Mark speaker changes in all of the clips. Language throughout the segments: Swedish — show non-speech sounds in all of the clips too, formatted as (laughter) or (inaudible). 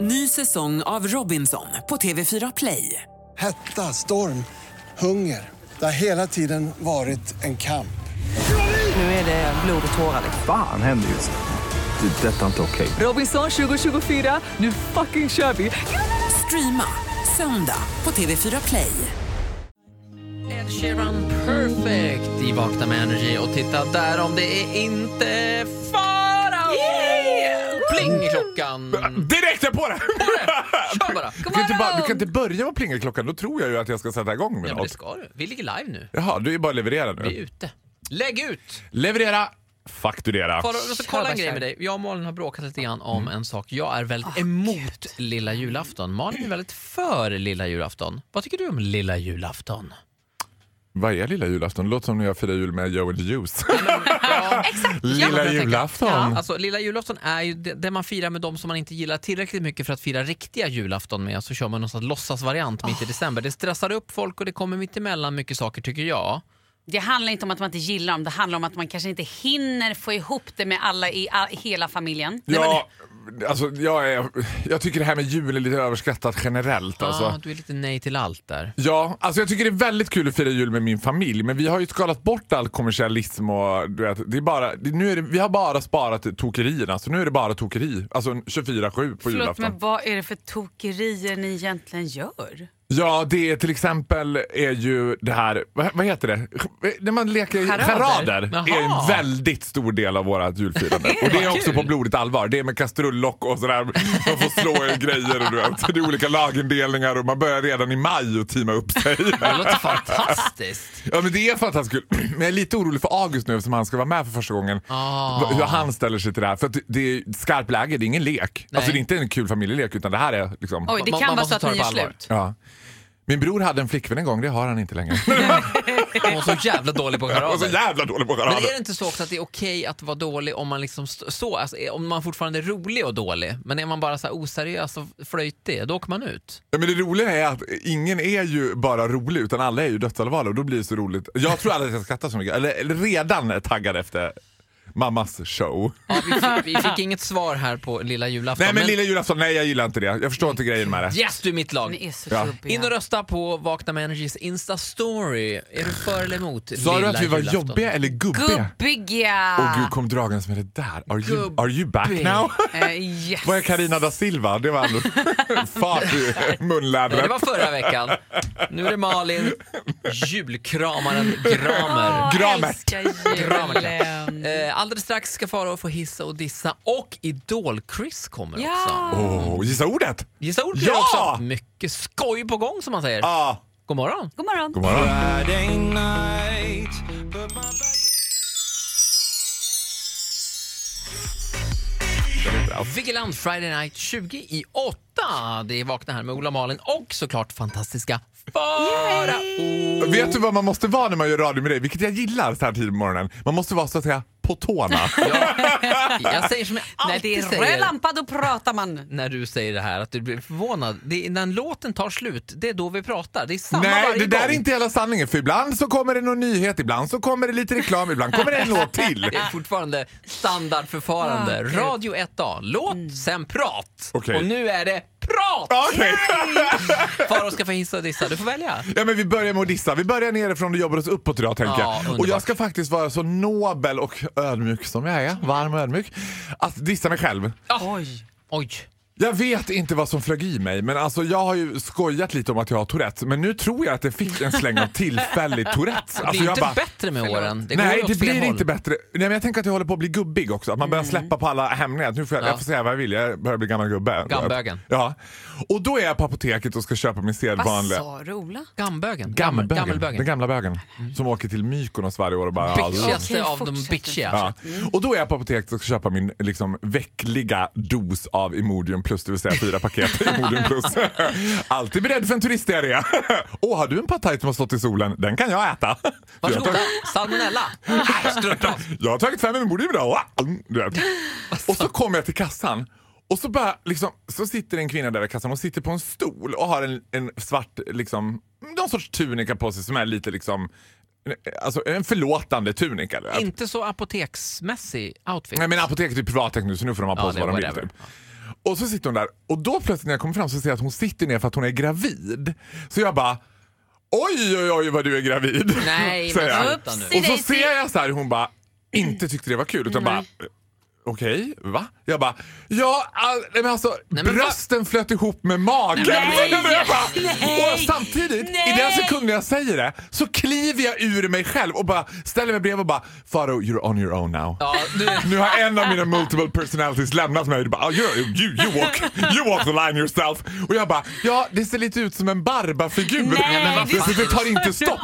Speaker 1: Ny säsong av Robinson på TV4 Play.
Speaker 2: Hetta, storm, hunger. Det har hela tiden varit en kamp.
Speaker 1: Nu är det blod och tårar. liksom.
Speaker 3: Fan händer just nu. Det. är Detta är inte okej.
Speaker 1: Robinson 2024, nu fucking kör vi! Streama söndag på TV4 Play.
Speaker 4: Ed Sheeran Perfect i Vakna med Energy och titta där om det är inte fara! Pling i klockan!
Speaker 5: Direkt jag
Speaker 4: (laughs)
Speaker 5: på det!
Speaker 4: Kör bara!
Speaker 5: Du kan, inte bara, du kan inte börja med plingelklockan, då tror jag ju att jag ska sätta igång med
Speaker 4: Ja, men det
Speaker 5: något.
Speaker 4: ska du. Vi ligger live nu.
Speaker 5: Jaha, du är bara leverera
Speaker 4: Vi är
Speaker 5: nu.
Speaker 4: ute. Lägg ut!
Speaker 5: Leverera, fakturera.
Speaker 4: Faro, jag måste kolla en grej med dig. Jag och Malin har bråkat lite grann om en sak. Jag är väldigt emot lilla julafton. Malin är väldigt för lilla julafton. Vad tycker du om lilla julafton?
Speaker 5: Vad är lilla julafton? Det låter som när jag firar jul med Joe and the Juice.
Speaker 4: Exakt!
Speaker 5: lilla julafton.
Speaker 4: Ja, alltså, lilla julafton är ju det, det man firar med de som man inte gillar tillräckligt mycket för att fira riktiga julafton med. Så kör man någon sån här låtsasvariant mitt i december. Det stressar upp folk och det kommer mitt emellan mycket saker tycker jag.
Speaker 6: Det handlar inte om att man inte gillar dem, det handlar om att man kanske inte hinner få ihop det med alla i all, hela familjen.
Speaker 5: Ja, alltså, jag, är, jag tycker det här med jul är lite överskattat generellt.
Speaker 4: Ah,
Speaker 5: Alltså.
Speaker 4: du är lite nej till allt där.
Speaker 5: Ja, alltså jag tycker det är väldigt kul att fira jul med min familj men vi har ju skalat bort all kommersialism och du vet, det är bara, det, nu är det, vi har bara sparat tokerierna så nu är det bara tokeri. Alltså 24-7 på
Speaker 6: Förlåt,
Speaker 5: julafton.
Speaker 6: men vad är det för tokerier ni egentligen gör?
Speaker 5: Ja, det är till exempel är ju det här, vad, vad heter det? När man leker
Speaker 4: Charader.
Speaker 5: charader, är
Speaker 4: Jaha.
Speaker 5: en väldigt stor del av
Speaker 4: (laughs)
Speaker 5: vårt julfirande. och det är också
Speaker 4: Kul.
Speaker 5: på blodigt allvar. Det är med kastrullock och sådär. Man får slå i grejer och du vet. Det är olika lagindelningar och man börjar redan i maj och teama upp
Speaker 4: (laughs)
Speaker 5: sig.
Speaker 4: Det låter fantastiskt.
Speaker 5: Ja men det är fantastiskt kul. Men jag är lite orolig för August nu eftersom han ska vara med för första gången.
Speaker 4: Ah.
Speaker 5: Hur han ställer sig till det här. För att det är skarpt läge, det är ingen lek.
Speaker 4: Nej.
Speaker 5: Alltså det är inte en kul familjelek utan det här är liksom...
Speaker 6: Oj, det
Speaker 4: Man-
Speaker 6: kan
Speaker 4: man
Speaker 6: vara
Speaker 4: måste
Speaker 6: så att
Speaker 4: ta det
Speaker 6: ni
Speaker 4: på
Speaker 6: gör
Speaker 4: allvar.
Speaker 6: slut.
Speaker 5: Ja. Min bror hade en flickvän en gång, det har han inte längre. (laughs)
Speaker 4: Hon var så jävla dålig på
Speaker 5: Jag var så
Speaker 4: charader.
Speaker 5: jävla dålig på
Speaker 4: Men är
Speaker 5: charader.
Speaker 4: det inte så också att det är okej att vara dålig om man liksom st- så, alltså, är- om man fortfarande är rolig och dålig, men är man bara så här oseriös och flöjtig, då åker man ut.
Speaker 5: Ja, men det roliga är att ingen är ju bara rolig utan alla är ju dödsallvarliga och då blir det så roligt. Jag tror alla ska skratta så mycket, eller, eller redan är taggade efter mammas show.
Speaker 4: Ja, vi, fick, vi
Speaker 5: (laughs)
Speaker 4: fick inget svar här på lilla julafton.
Speaker 5: Nej men,
Speaker 4: men-
Speaker 5: lilla julafton, nej jag gillar inte det. Jag förstår inte grejen med det.
Speaker 4: Yes, du är mitt lag!
Speaker 6: Ni är så
Speaker 5: Ja.
Speaker 4: In och
Speaker 6: jobbiga.
Speaker 4: rösta på Vakna med Energys Insta-story. Är du för eller emot
Speaker 5: Sa du
Speaker 4: lilla
Speaker 5: att vi var
Speaker 4: julafton?
Speaker 5: jobbiga eller gubbiga?
Speaker 6: Gubbiga!
Speaker 5: Åh gud, kom dragandes med det där. Are you, are you back
Speaker 4: Gubbe. (laughs)
Speaker 5: now?
Speaker 6: Eh, yes.
Speaker 5: Vad är Carina da Silva? Det var ändå fart i
Speaker 4: Nej,
Speaker 5: munlädret.
Speaker 4: Det var förra veckan. Nu är det
Speaker 5: (laughs)
Speaker 4: Malin, julkramaren Gramer.
Speaker 5: Gramet.
Speaker 6: älskar julen.
Speaker 5: Mm.
Speaker 4: Eh, Alldeles strax ska Faro få hissa och dissa och Idol-Chris kommer också.
Speaker 6: Ja.
Speaker 5: Åh, gissa ordet!
Speaker 4: Gissa ord
Speaker 5: Ja!
Speaker 4: också. Mycket skoj på gång som man säger.
Speaker 5: Ah,
Speaker 4: God morgon.
Speaker 6: God morgon.
Speaker 5: god morgon.
Speaker 4: Vigilant Friday Night 20 i 8. Det är Vakna här med Ola Malin och såklart fantastiska Farao.
Speaker 5: Vet du vad man måste vara när man gör radio med dig? Vilket jag gillar så här tidigt på morgonen. Man måste vara så att säga
Speaker 4: (laughs)
Speaker 5: på tårna.
Speaker 4: Jag säger
Speaker 5: (laughs)
Speaker 4: som jag
Speaker 6: När
Speaker 4: alltid
Speaker 6: det är
Speaker 4: säger.
Speaker 6: röd lampa då pratar man.
Speaker 4: när du säger det här, att du blir förvånad. Det är när låten tar slut, det är då vi pratar. Det är samma
Speaker 5: Nej,
Speaker 4: varje
Speaker 5: det där
Speaker 4: gång.
Speaker 5: är inte hela sanningen. För ibland så kommer det någon nyhet, ibland så kommer det lite reklam, ibland kommer det en låt till.
Speaker 4: (laughs) Det är fortfarande standardförfarande. Radio 1A, låt sen prat.
Speaker 5: Okej.
Speaker 4: Och nu är det prat!
Speaker 5: Okej.
Speaker 4: Farao ska få hissa och dissa, du får välja.
Speaker 5: Ja, men vi börjar med att dissa. Vi börjar nerifrån och jobbar oss uppåt idag. Tänker
Speaker 4: Ja,
Speaker 5: jag. Och
Speaker 4: underbart.
Speaker 5: jag ska faktiskt vara så nobel och ödmjuk som jag är, varm och ödmjuk, att dissa mig själv.
Speaker 6: Oj.
Speaker 4: Oj.
Speaker 5: Jag vet inte vad som flög i mig, men alltså jag har ju skojat lite om att jag har Tourettes, men nu tror jag att jag fick en släng av tillfällig Tourettes.
Speaker 4: Det
Speaker 5: Alltså,
Speaker 4: blir
Speaker 5: jag
Speaker 4: inte
Speaker 5: bara-
Speaker 4: bättre med åren. Det går
Speaker 5: Nej,
Speaker 4: åt
Speaker 5: det
Speaker 4: fel
Speaker 5: blir
Speaker 4: håll. Mm.
Speaker 5: inte bättre. Nej, men jag tänker att jag håller på att bli gubbig också. Att man börjar släppa på alla hämningar. Att Nu får jag,
Speaker 4: Ja.
Speaker 5: jag får säga vad jag vill, jag börjar bli gammal gubbe.
Speaker 4: Gambögen.
Speaker 5: Ja. Och då är jag på apoteket och ska köpa min
Speaker 6: Vad
Speaker 5: sedvanliga...
Speaker 6: sa du Ola?
Speaker 4: Gambögen. Gammel-
Speaker 5: Gammelbögen.
Speaker 4: Gammelbögen.
Speaker 5: Den gamla bögen. Som åker till Mykonos varje år och bara... ja,
Speaker 4: Bitchigaste
Speaker 6: Okej,
Speaker 4: av de
Speaker 6: fortsätt.
Speaker 4: bitchiga.
Speaker 5: Ja. Och då är jag på apoteket och ska köpa min liksom, veckliga dos av Imodium plus, det vill säga
Speaker 4: (laughs)
Speaker 5: fyra paket Imodium plus. (laughs) Alltid beredd för en turistarea. (laughs) Åh, har du en pad thai som har stått i solen? Den kan jag äta. (laughs) Jag har
Speaker 4: Varsågoda,
Speaker 5: tagit-
Speaker 4: salmonella. Nej, strunt prat.
Speaker 5: jag har tagit fem Imodium idag. Wow! Mm, Du vet. Och så kommer jag till kassan. Och så, bara, liksom, så sitter en kvinna där vid kassan och sitter på en stol och har en, en svart, liksom, någon sorts tunika på sig som är lite liksom, alltså en förlåtande tunika. du vet.
Speaker 4: Inte så apoteksmässig outfit.
Speaker 5: Nej men apoteket är privatägt nu så nu får de ha på
Speaker 4: Ja,
Speaker 5: sig
Speaker 4: det är
Speaker 5: vad de vill.
Speaker 4: whatever.
Speaker 5: Typ. Och så sitter hon där och då plötsligt när jag kommer fram så ser jag att hon sitter ner för att hon är gravid. Så jag bara Oj, oj, oj vad du är gravid.
Speaker 4: Nej,
Speaker 5: (laughs) säger
Speaker 4: men
Speaker 5: jag.
Speaker 4: sluta nu.
Speaker 5: Och så ser jag så här hur hon bara inte tyckte det var kul utan bara Okej, va? Jag bara, ja, all, nej, men alltså
Speaker 4: Nej, men
Speaker 5: brösten flöt ihop med magen.
Speaker 6: Nej,
Speaker 5: (laughs) men jag bara,
Speaker 6: nej,
Speaker 5: och samtidigt, i
Speaker 6: nej.
Speaker 5: den sekunden jag säger det, så kliver jag ur mig själv och bara ställer mig bredvid och bara, Faro, you're on your own now.
Speaker 4: Ja, nu,
Speaker 5: Nu har en av mina multiple personalities lämnat mig. Du bara, "Ah, you, you, you, walk, you walk the line yourself. Och jag bara, ja det ser lite ut som en Barba-figur.
Speaker 6: Nej,
Speaker 5: Men vad
Speaker 6: det-
Speaker 5: fan, det tar inte stopp.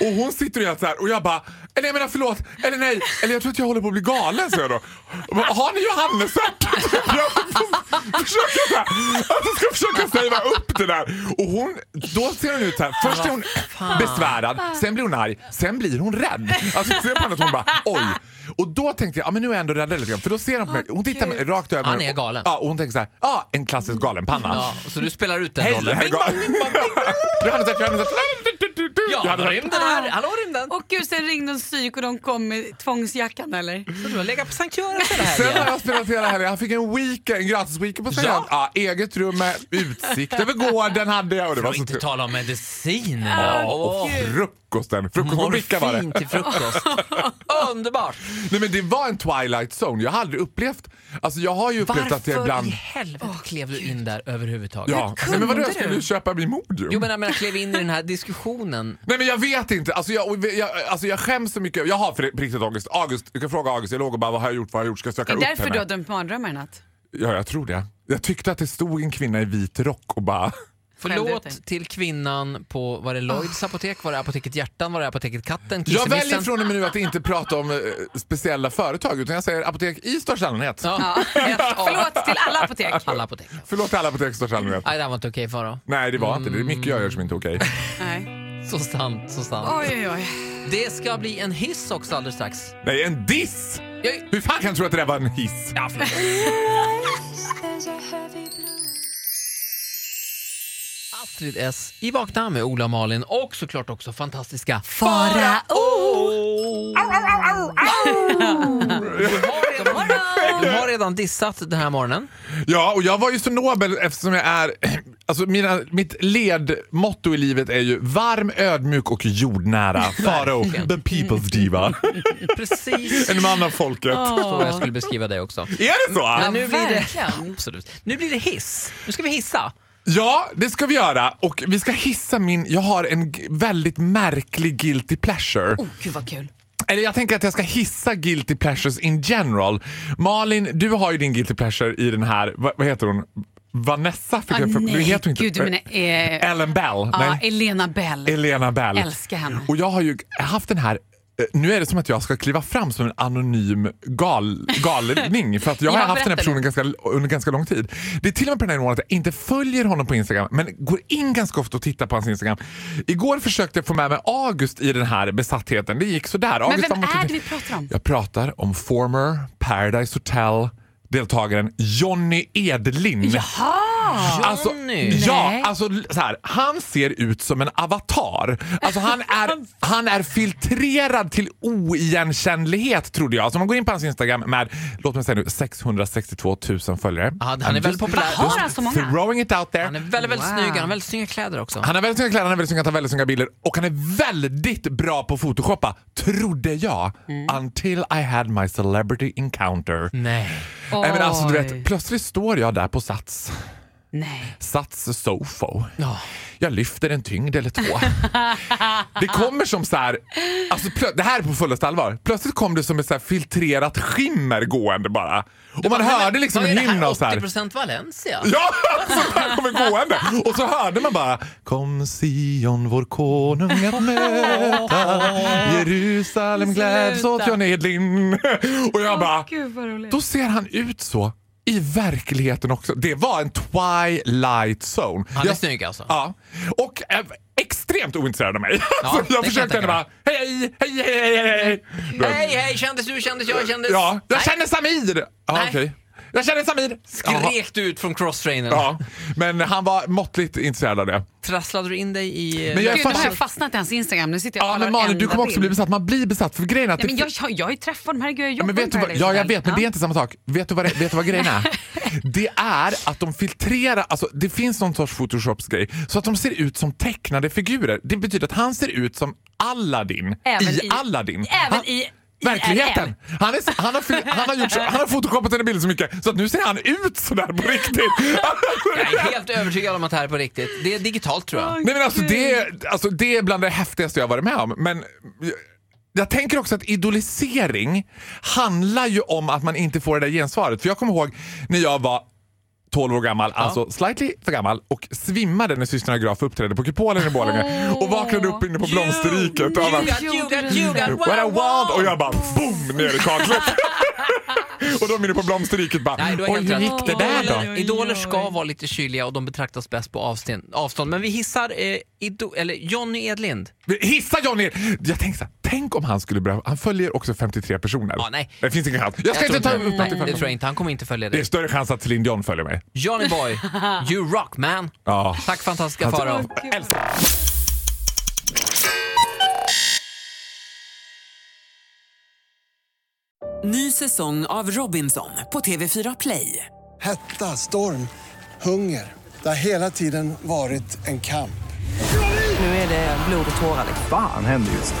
Speaker 5: Och hon sitter helt så här och jag bara, eller jag menar förlåt, eller nej, eller jag tror att jag håller på att bli galen så jag då. Och bara, Har ni Johannesört? (laughs) Jag får försöka så här, att jag ska försöka säga upp det där. Och hon, då ser hon ut så här, först är hon besvärad, sen blir hon arg, sen blir hon rädd. Alltså ser på henne att hon bara, oj. Och då tänkte jag, ja men nu är jag ändå rädd lite grann. För då ser hon på mig, hon tittar mig rakt över.
Speaker 4: Han är galen.
Speaker 5: Ja, och hon tänker så här, ja en klassisk galenpanna.
Speaker 4: ja, så du spelar ut den
Speaker 5: Hej,
Speaker 4: rollen.
Speaker 5: hej, gal- Johannesört, Johannesört.
Speaker 4: Ja,
Speaker 5: Johannesört.
Speaker 4: rymden här. Hallå rymden.
Speaker 6: Och gud, sen ringde de psyk och de kom med tvångsjackan eller?
Speaker 4: Så du har legat på Sankt Göran hela
Speaker 5: Sen har
Speaker 4: helgen.
Speaker 5: jag spelat hela helgen. Han fick en weekend, en gratis weekend på Sälen.
Speaker 4: Ja.
Speaker 5: Ja. eget rum med utsikt över gården hade Alltså, jag. Och det var
Speaker 4: Och
Speaker 5: så
Speaker 4: inte
Speaker 5: trevligt.
Speaker 4: tala om mediciner.
Speaker 5: Och frukosten.
Speaker 4: Mm,
Speaker 5: Frukost och bricka var det.
Speaker 4: Morfin till frukost. (laughs) Underbart.
Speaker 5: Nej, men det var en twilight zone. Jag har aldrig upplevt... Alltså jag har ju upplevt att jag
Speaker 4: Varför
Speaker 5: ibland...
Speaker 4: i helvete klev du in där överhuvudtaget?
Speaker 5: Ja. Nej, men vadå, jag skulle ju köpa Imodium.
Speaker 4: Jo men jag menar klev in i den här (laughs) diskussionen.
Speaker 5: Nej men jag vet inte. Alltså jag, och jag, alltså jag skäms så mycket. Jag har för- på riktigt ångest. August, du kan fråga August. Jag låg och bara, vad har jag gjort? Vad har jag gjort? Ska jag
Speaker 6: Det
Speaker 5: söka
Speaker 6: är
Speaker 5: upp
Speaker 6: därför
Speaker 5: henne?
Speaker 6: du har drömt mardrömmar i natt.
Speaker 5: Ja, jag tror det. Jag tyckte att det stod en kvinna i vit rock och bara...
Speaker 6: Självdöd, tänk.
Speaker 4: Förlåt till kvinnan på, var det Lloyds apotek, var det apoteket Hjärtan, var det apoteket Katten,
Speaker 5: Jag väljer
Speaker 4: Kissemissen?
Speaker 5: från och med nu att inte prata om eh, speciella företag utan jag säger apotek i största allmänhet.
Speaker 6: (laughs)
Speaker 4: Ja, ett av
Speaker 6: Förlåt till alla apotek.
Speaker 4: (laughs) alla apotek.
Speaker 5: Förlåt till alla apotek i största allmänhet.
Speaker 4: Nej det här var inte okej Farao.
Speaker 5: Nej det var inte det. Det är mycket jag gör som inte är okej.
Speaker 6: Nej.
Speaker 4: Så sant, så sant.
Speaker 6: Oj, oj, oj.
Speaker 4: Det ska bli en hiss också alldeles strax.
Speaker 5: Nej en diss!
Speaker 4: Jag,
Speaker 5: Hur fan kan du tro att det där var en hiss?
Speaker 4: ja, förlåt. Astrid S i Vakna med Ola och Malin och såklart också fantastiska Farao! Du har redan- Du har redan dissat den här morgonen.
Speaker 5: Ja, och jag var ju så nobel eftersom jag är... (clears throat) Alltså mina, mitt ledmotto i livet är ju varm, ödmjuk
Speaker 4: (laughs)
Speaker 5: och jordnära. Faro, the people's diva.
Speaker 4: Precis
Speaker 5: En man av folket.
Speaker 4: så jag skulle beskriva dig också.
Speaker 5: Är det så?
Speaker 4: Men nu blir det,
Speaker 6: verkligen.
Speaker 4: absolut. nu blir det hiss. Nu ska vi hissa.
Speaker 5: Ja, det ska vi göra. Och vi ska hissa min... Jag har en g- väldigt märklig guilty pleasure.
Speaker 6: Oh, gud vad kul.
Speaker 5: Eller jag tänker att jag ska hissa guilty pleasures in general. Malin, du har ju din guilty pleasure i den här... Vad, vad heter hon? Vanessa? Fick
Speaker 6: Ah,
Speaker 5: jag för,
Speaker 6: nej,
Speaker 5: heter hon
Speaker 6: gud, du menar, eh,
Speaker 5: Ellen Bell?
Speaker 6: Ja,
Speaker 5: nej.
Speaker 6: Elena Bell.
Speaker 5: Elena Bell.
Speaker 6: Älskar henne.
Speaker 5: Och jag har ju haft den här eh, nu är det som att jag ska kliva fram som en anonym gal, galning för att jag har
Speaker 4: Ja,
Speaker 5: haft den
Speaker 4: berätta
Speaker 5: här personen ganska, under ganska lång tid. Det är till och med på den här nivån att jag inte följer honom på Instagram men går in ganska ofta och tittar på hans Instagram. Igår försökte jag få med mig August i den här besattheten. Det gick sådär.
Speaker 6: Men
Speaker 5: August
Speaker 6: vem
Speaker 5: har mått-
Speaker 6: är det vi pratar om?
Speaker 5: Jag pratar om former Paradise Hotel deltagaren Johnny Edlin. Alltså,
Speaker 4: Johnny.
Speaker 5: ja,
Speaker 6: Nej.
Speaker 5: alltså så här, han ser ut som en avatar.
Speaker 4: (laughs)
Speaker 5: Alltså, han, är, han är filtrerad till oigenkännlighet trodde jag. Så om man går in på hans Instagram med, låt mig säga nu, 662 000 följare.
Speaker 4: Ja, han är
Speaker 5: I'm
Speaker 4: väldigt
Speaker 5: just-
Speaker 4: populär.
Speaker 5: just
Speaker 6: Vad har han så många?
Speaker 5: Throwing it out there.
Speaker 4: Han är väldigt, väldigt
Speaker 6: Wow.
Speaker 4: snygg. Han har väldigt snygga kläder också.
Speaker 5: Han har väldigt snygga kläder, han har väldigt snygga, tar väldigt snygga bilder och han är väldigt bra på att photoshoppa, trodde jag.
Speaker 6: Mm.
Speaker 5: Until I had my celebrity encounter.
Speaker 4: Nej.
Speaker 5: Nej, men alltså, du
Speaker 6: Oj.
Speaker 5: vet, plötsligt står jag där på Sats,
Speaker 6: Nej.
Speaker 5: Sats Sofo.
Speaker 4: Ja.
Speaker 5: Jag lyfter en tyngd eller två. det kommer som så här, alltså, plö- det här är på fullaste allvar. Plötsligt kom det som ett så här filtrerat skimmer gående bara. Och man hörde liksom en hymn av så här.
Speaker 4: 80% Valencia.
Speaker 5: Ja, (laughs) så här kommer gående. Och så hörde man bara Kom Sion vår konung att möta Jerusalem gläds åt
Speaker 4: Sluta.
Speaker 5: John Edlin. Och jag bara,
Speaker 6: Gud vad roligt.
Speaker 5: då ser han ut så i verkligheten också. Det var en twilight zone.
Speaker 4: Han är
Speaker 5: Jag-
Speaker 4: snygg alltså.
Speaker 5: Ja. Och eh, extremt ointresserad av mig. (laughs) så
Speaker 4: det kan
Speaker 5: jag
Speaker 4: jag
Speaker 5: försökte
Speaker 4: tänka
Speaker 5: henne bara, hej, hej, hej, hej, hej. Du vet.
Speaker 4: Hej, hej, kändis du, kändis jag, kändis...
Speaker 5: Ja, jag
Speaker 4: Nej.
Speaker 5: känner Samir! Ja,
Speaker 4: Nej.
Speaker 5: okej. Jag känner Samir!
Speaker 4: Skrek du ut från crosstrainern?
Speaker 5: Ja, men han var måttligt intresserad av det.
Speaker 4: Trasslade du in dig i... eh,
Speaker 5: Men jag är
Speaker 6: Gud, nu har jag
Speaker 5: fascinerad-
Speaker 6: fastnat i hans Instagram. Nu sitter jag och
Speaker 5: Ja,
Speaker 6: kollar
Speaker 5: men Malin, du
Speaker 6: varenda
Speaker 5: kommer också bli
Speaker 6: bild.
Speaker 5: besatt. Man blir besatt. För grejen är att
Speaker 6: Ja, men
Speaker 5: det
Speaker 6: jag, jag, jag har ju träffat dem, herregud. Jag
Speaker 5: Ja,
Speaker 6: jobbar
Speaker 5: men vet du
Speaker 6: med liksom.
Speaker 5: vad, ja,
Speaker 6: Paradise
Speaker 5: jag
Speaker 6: Hotel.
Speaker 5: vet, men det är inte samma sak. Vet du vad, det- vet du vad grejen
Speaker 6: (laughs)
Speaker 5: är? Det är att de filtrerar, alltså det finns någon sorts photoshops-grej, så att de ser ut som tecknade figurer. Det betyder att han ser ut som Aladdin
Speaker 6: Även
Speaker 5: i,
Speaker 6: i-
Speaker 5: Aladdin.
Speaker 6: även
Speaker 5: han,
Speaker 6: i
Speaker 5: Verkligheten! Han, är, s- han, har, fil- han, har gjort, så- han har fotokopat en bild så mycket så att nu ser han ut sådär på
Speaker 6: (laughs)
Speaker 5: riktigt. (laughs)
Speaker 4: Jag är helt övertygad om att det här är på riktigt. Det är digitalt tror jag.
Speaker 5: Nej men alltså det, är- alltså det är bland det häftigaste jag har varit med om. Men jag, jag tänker också att idolisering handlar ju om att man inte får det där gensvaret. För jag kommer ihåg när jag var 12 år gammal, alltså slightly för gammal och svimmade när systrarna Graf uppträdde på Kupolen i Borlänge och vaknade upp inne på Blomsterriket och bara, "Mm,
Speaker 6: ljugat,
Speaker 5: What a world! Och jag bara boom ner i kaklet. och de inne på Blomsterriket bara,
Speaker 4: Nej, du har
Speaker 5: oj
Speaker 4: helt
Speaker 5: hur
Speaker 4: rätt.
Speaker 5: gick det där då?
Speaker 4: Idoler- Idoler ska vara lite kyliga och de betraktas bäst på avstånd. avstånd. Men vi hissar eh, ido- eller Jonny Edlind.
Speaker 5: Hissa Johnny! Jag tänkte så här, tänk om han skulle börja... Han följer också 53 personer.
Speaker 4: Ja, nej.
Speaker 5: Det finns ingen chans. Jag ska
Speaker 4: tror
Speaker 5: inte ta upp
Speaker 4: Nej, det
Speaker 5: någonting för
Speaker 4: tror jag
Speaker 5: honom.
Speaker 4: inte. Han kommer inte följa
Speaker 5: Det är
Speaker 4: dig.
Speaker 5: större chans att Céline Dion följer mig.
Speaker 4: Johnny Boy, you rock man.
Speaker 5: Ja.
Speaker 4: Tack fantastiska Farao.
Speaker 5: Älskar.
Speaker 1: Ny säsong av Robinson på TV4 Play.
Speaker 2: Hetta, storm, hunger. Det har hela tiden varit en kamp.
Speaker 7: Nu är det blod och tårar. liksom.
Speaker 3: Fan händer just det.